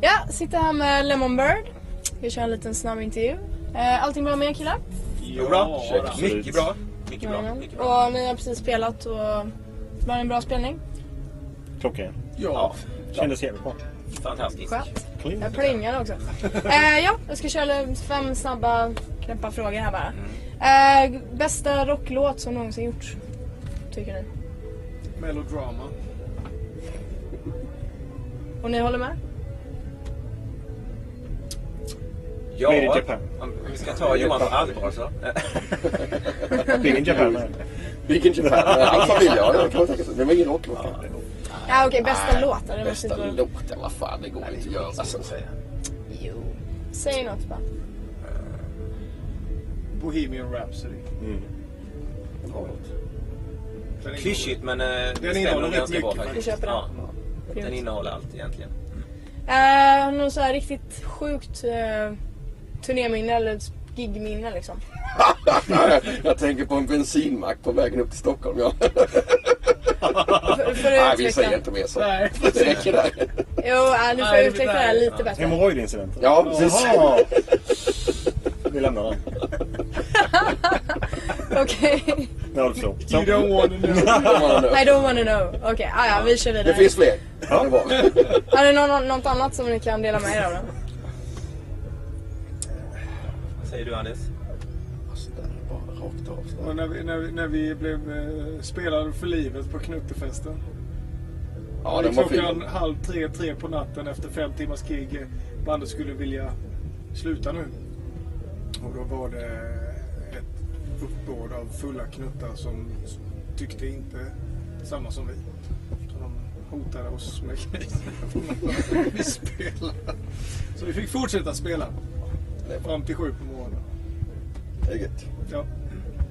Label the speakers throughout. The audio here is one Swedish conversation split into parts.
Speaker 1: Ja, sitter här med Lemonbird. Vi kör en liten snabb intervju. Eh, Allting bra med er killar?
Speaker 2: Jo då, mycket bra. Mycket bra.
Speaker 1: Jajamän.
Speaker 2: Mycket bra.
Speaker 1: Och ni har precis spelat och det var en bra spelning.
Speaker 3: Klockren.
Speaker 2: Ja,
Speaker 3: Kändes jävligt bra.
Speaker 2: fantastiskt.
Speaker 1: Mm. Skönt.
Speaker 3: Clean.
Speaker 1: Jag plingar också. Eh, ja, jag ska köra fem snabba knäppa frågor här bara.
Speaker 4: Mm.
Speaker 1: Eh, bästa rocklåt som någonsin gjorts? Tycker ni?
Speaker 5: Melodrama.
Speaker 1: Och ni håller med?
Speaker 2: Ja,
Speaker 3: Made in Japan.
Speaker 2: om vi ska ta Johan på allvar så.
Speaker 3: Big in Japan. nej.
Speaker 4: Vilken Japan? Hans familj, ja. Det kan man tänka sig. Det var ingen rocklåt. kanske.
Speaker 1: Ja, okej, bästa
Speaker 4: Nej,
Speaker 1: låt. Det måste
Speaker 4: Bästa
Speaker 1: inte vara-
Speaker 4: låt, ja, vad fan, det går inte att göra. Alltså,
Speaker 1: Jo. Säg något bara.
Speaker 5: Bohemian Rhapsody. Den är-
Speaker 2: Klyschigt men eh, det stämmer
Speaker 5: innehåller
Speaker 2: nog
Speaker 5: rätt
Speaker 2: ganska bra
Speaker 5: mycket,
Speaker 2: faktiskt.
Speaker 1: Vi köper den.
Speaker 2: Ja, den
Speaker 1: Grymt.
Speaker 2: innehåller allt egentligen.
Speaker 1: Eh, har ni något så här riktigt sjukt eh, turnéminne eller gigminne liksom?
Speaker 4: jag tänker på en bensinmack på vägen upp till Stockholm. Ja.
Speaker 1: För, för
Speaker 4: Nej,
Speaker 1: att
Speaker 4: vi säger
Speaker 1: utveckla.
Speaker 4: inte mer så.
Speaker 5: Nej.
Speaker 4: Det räcker där.
Speaker 1: Jo, ja, ni får
Speaker 5: Nej, det
Speaker 1: utveckla det
Speaker 5: där.
Speaker 1: här lite bättre.
Speaker 3: Hemorrojdincidenten.
Speaker 4: Ja, precis.
Speaker 3: Jaha. Vi lämnar den.
Speaker 1: Okej.
Speaker 3: Ja, du förstår.
Speaker 5: You don't
Speaker 3: Så.
Speaker 5: wanna know.
Speaker 1: I don't wanna know. Okej, ah, ja, vi kör vidare.
Speaker 4: Det finns fler. Ja. Det var.
Speaker 1: Har ni någon, något annat som ni kan dela med er av då?
Speaker 2: Vad säger du Anders?
Speaker 4: Alltså, där är bara rakt av. så där.
Speaker 5: Och när vi, när vi, när vi blev eh, spelade för livet på knuttefesten.
Speaker 4: Ja,
Speaker 5: Det är
Speaker 4: den var
Speaker 5: klockan
Speaker 4: fin.
Speaker 5: halv tre, tre på natten efter fem timmars gig. Bandet skulle vilja sluta nu. Och då var det ett uppbåd av fulla knuttar som tyckte inte samma som vi. Så de hotade oss med kniv. vi spelade. Så vi fick fortsätta spela. Fram till sju på morgonen.
Speaker 4: Det är gött.
Speaker 5: Ja.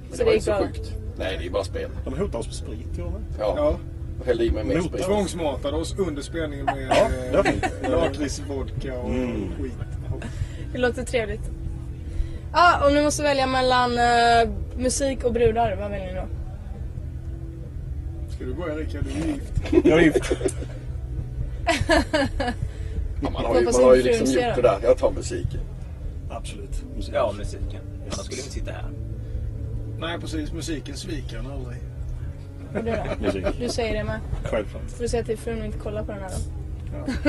Speaker 4: Men
Speaker 1: Så
Speaker 4: det
Speaker 1: det
Speaker 4: var
Speaker 1: gick
Speaker 4: inte så
Speaker 1: bra.
Speaker 4: sjukt. Nej, det är bara spel.
Speaker 3: De hotar oss med sprit, gör de inte?
Speaker 4: Ja.
Speaker 5: ja.
Speaker 4: Och Hällde i mig mer
Speaker 3: Nota.
Speaker 4: sprit.
Speaker 5: Tvångsmatade oss under spelningen med
Speaker 3: det var fint.
Speaker 5: eh, lakritsvodka och
Speaker 4: Mm.
Speaker 5: skit.
Speaker 1: Det låter trevligt. Ja, om ni måste välja mellan eh, musik och brudar, vad väljer ni då?
Speaker 5: Ska du börja Rickard? Du är gift.
Speaker 3: Jag är gift.
Speaker 4: Ja, man har ju,
Speaker 1: Hoppas
Speaker 4: man har ju
Speaker 1: inte
Speaker 4: liksom
Speaker 1: frun ser
Speaker 4: gjort det
Speaker 1: den.
Speaker 4: där. Jag tar musiken.
Speaker 3: Absolut.
Speaker 2: Ja, musiken. Annars skulle vi inte sitta här.
Speaker 5: Nej precis, musiken sviker han aldrig.
Speaker 1: Och du då?
Speaker 3: Musik.
Speaker 1: Du säger det med.
Speaker 3: Självklart.
Speaker 1: Får du säga till frun att inte kolla på den här då?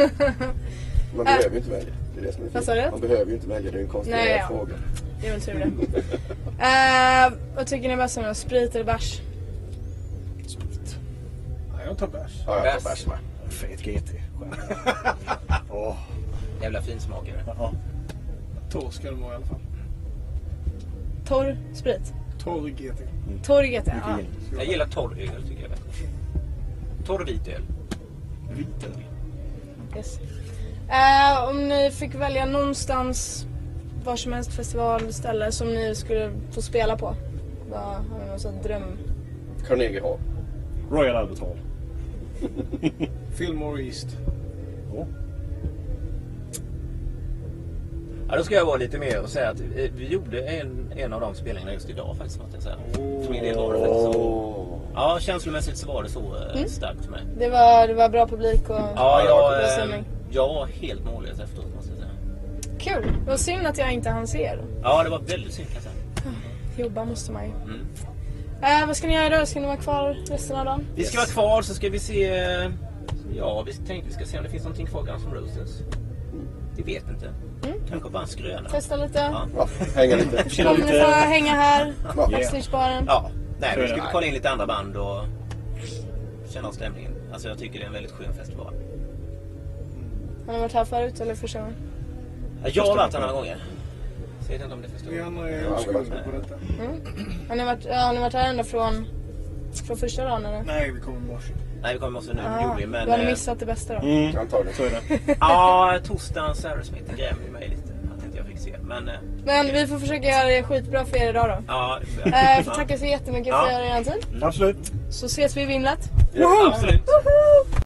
Speaker 4: Man behöver ju inte välja. Det är det som är
Speaker 1: Äh. Vad sa du?
Speaker 4: fint. Man behöver ju inte välja. Det är en
Speaker 1: Nej,
Speaker 4: konstruerad
Speaker 1: ja.
Speaker 4: fråga.
Speaker 1: Det är väl tur det. Eh, vad tycker ni är bäst om då? Sprit eller bärs?
Speaker 3: Sprit.
Speaker 5: Nej, jag tar bärs.
Speaker 4: Ja, jag
Speaker 2: Bärs.
Speaker 4: tar bärs med.
Speaker 3: Fet GT. Åh.
Speaker 2: Jävla finsmakare.
Speaker 3: Ja.
Speaker 5: Torr ska den vara i alla fall.
Speaker 1: Torr sprit?
Speaker 5: Torr GT.
Speaker 1: Torr GT? Ja.
Speaker 3: Vilken
Speaker 2: Jag gillar torr öl tycker jag är bättre. Torr vit öl.
Speaker 3: vit öl.
Speaker 1: Yes. Eh, om ni fick välja någonstans, var som helst festival, ställe som ni skulle få spela på. Vad har ni någon sån dröm?
Speaker 4: Carnegie Hall.
Speaker 3: Royal Albert Hall.
Speaker 5: Fillmore East.
Speaker 3: Åh.
Speaker 2: Ja, då ska jag vara lite mer och säga att eh, vi gjorde en, en av de spelningarna just idag faktiskt. Måste jag säga. För min del var det faktiskt så.
Speaker 4: Åh.
Speaker 2: Ja, känslomässigt så var det så eh,
Speaker 1: Mm.
Speaker 2: starkt för mig.
Speaker 1: Det var, det var bra publik och
Speaker 2: Ja,
Speaker 1: bra
Speaker 2: jag, eh,
Speaker 1: stämning.
Speaker 2: jag var helt mållös efteråt måste jag säga.
Speaker 1: Kul! Det var synd att jag inte hann se er.
Speaker 2: Ja, det var väldigt synd kan jag säga.
Speaker 1: Jobba måste man ju.
Speaker 2: Mm.
Speaker 1: Eh, vad ska ni göra idag? Ska ni vara kvar resten av dagen?
Speaker 2: Vi ska vara kvar så ska vi se... eh, Ja, vi tänkte vi ska se om det finns någonting kvar Guns N' Roses. Vi vet inte.
Speaker 1: Mm.
Speaker 2: Kanske bara en skröna.
Speaker 1: Testa lite.
Speaker 2: Ja.
Speaker 4: Ja, hänga lite.
Speaker 3: Chilla
Speaker 1: Kommer ni få
Speaker 3: lite.
Speaker 1: hänga här?
Speaker 4: Ja.
Speaker 1: Backstagebaren.
Speaker 2: Ja, nej, vi
Speaker 3: Skröna.
Speaker 2: skulle kolla in lite andra band och känna av stämningen. Alltså jag tycker det är en väldigt skön festival.
Speaker 1: Har ni varit här förut eller första gången?
Speaker 2: Ja, Jag har varit här några gånger. Så jag vet inte om det är för
Speaker 5: Ni
Speaker 2: stort.
Speaker 5: andra är oskulder på detta.
Speaker 1: Har ni varit, ja, har ni varit här ända från, från första dagen eller?
Speaker 5: Nej, vi kommer i morse.
Speaker 2: Nej, vi kommer också nu.
Speaker 1: Ah,
Speaker 2: gjorde vi, men...
Speaker 1: du har
Speaker 2: eh,
Speaker 1: missat det bästa då?
Speaker 3: Mm.
Speaker 4: Antagligen.
Speaker 3: Så är det.
Speaker 2: Ja, torsdagens Aerosmith grämde ju mig lite. Att inte jag fick se. Men eh,
Speaker 1: Men vi får försöka göra det skitbra för er idag då.
Speaker 2: ja.
Speaker 1: Eh, får tacka så jättemycket för
Speaker 2: Ja.
Speaker 1: er tid.
Speaker 3: Absolut.
Speaker 1: Så ses vi i vimlet.
Speaker 2: Absolut.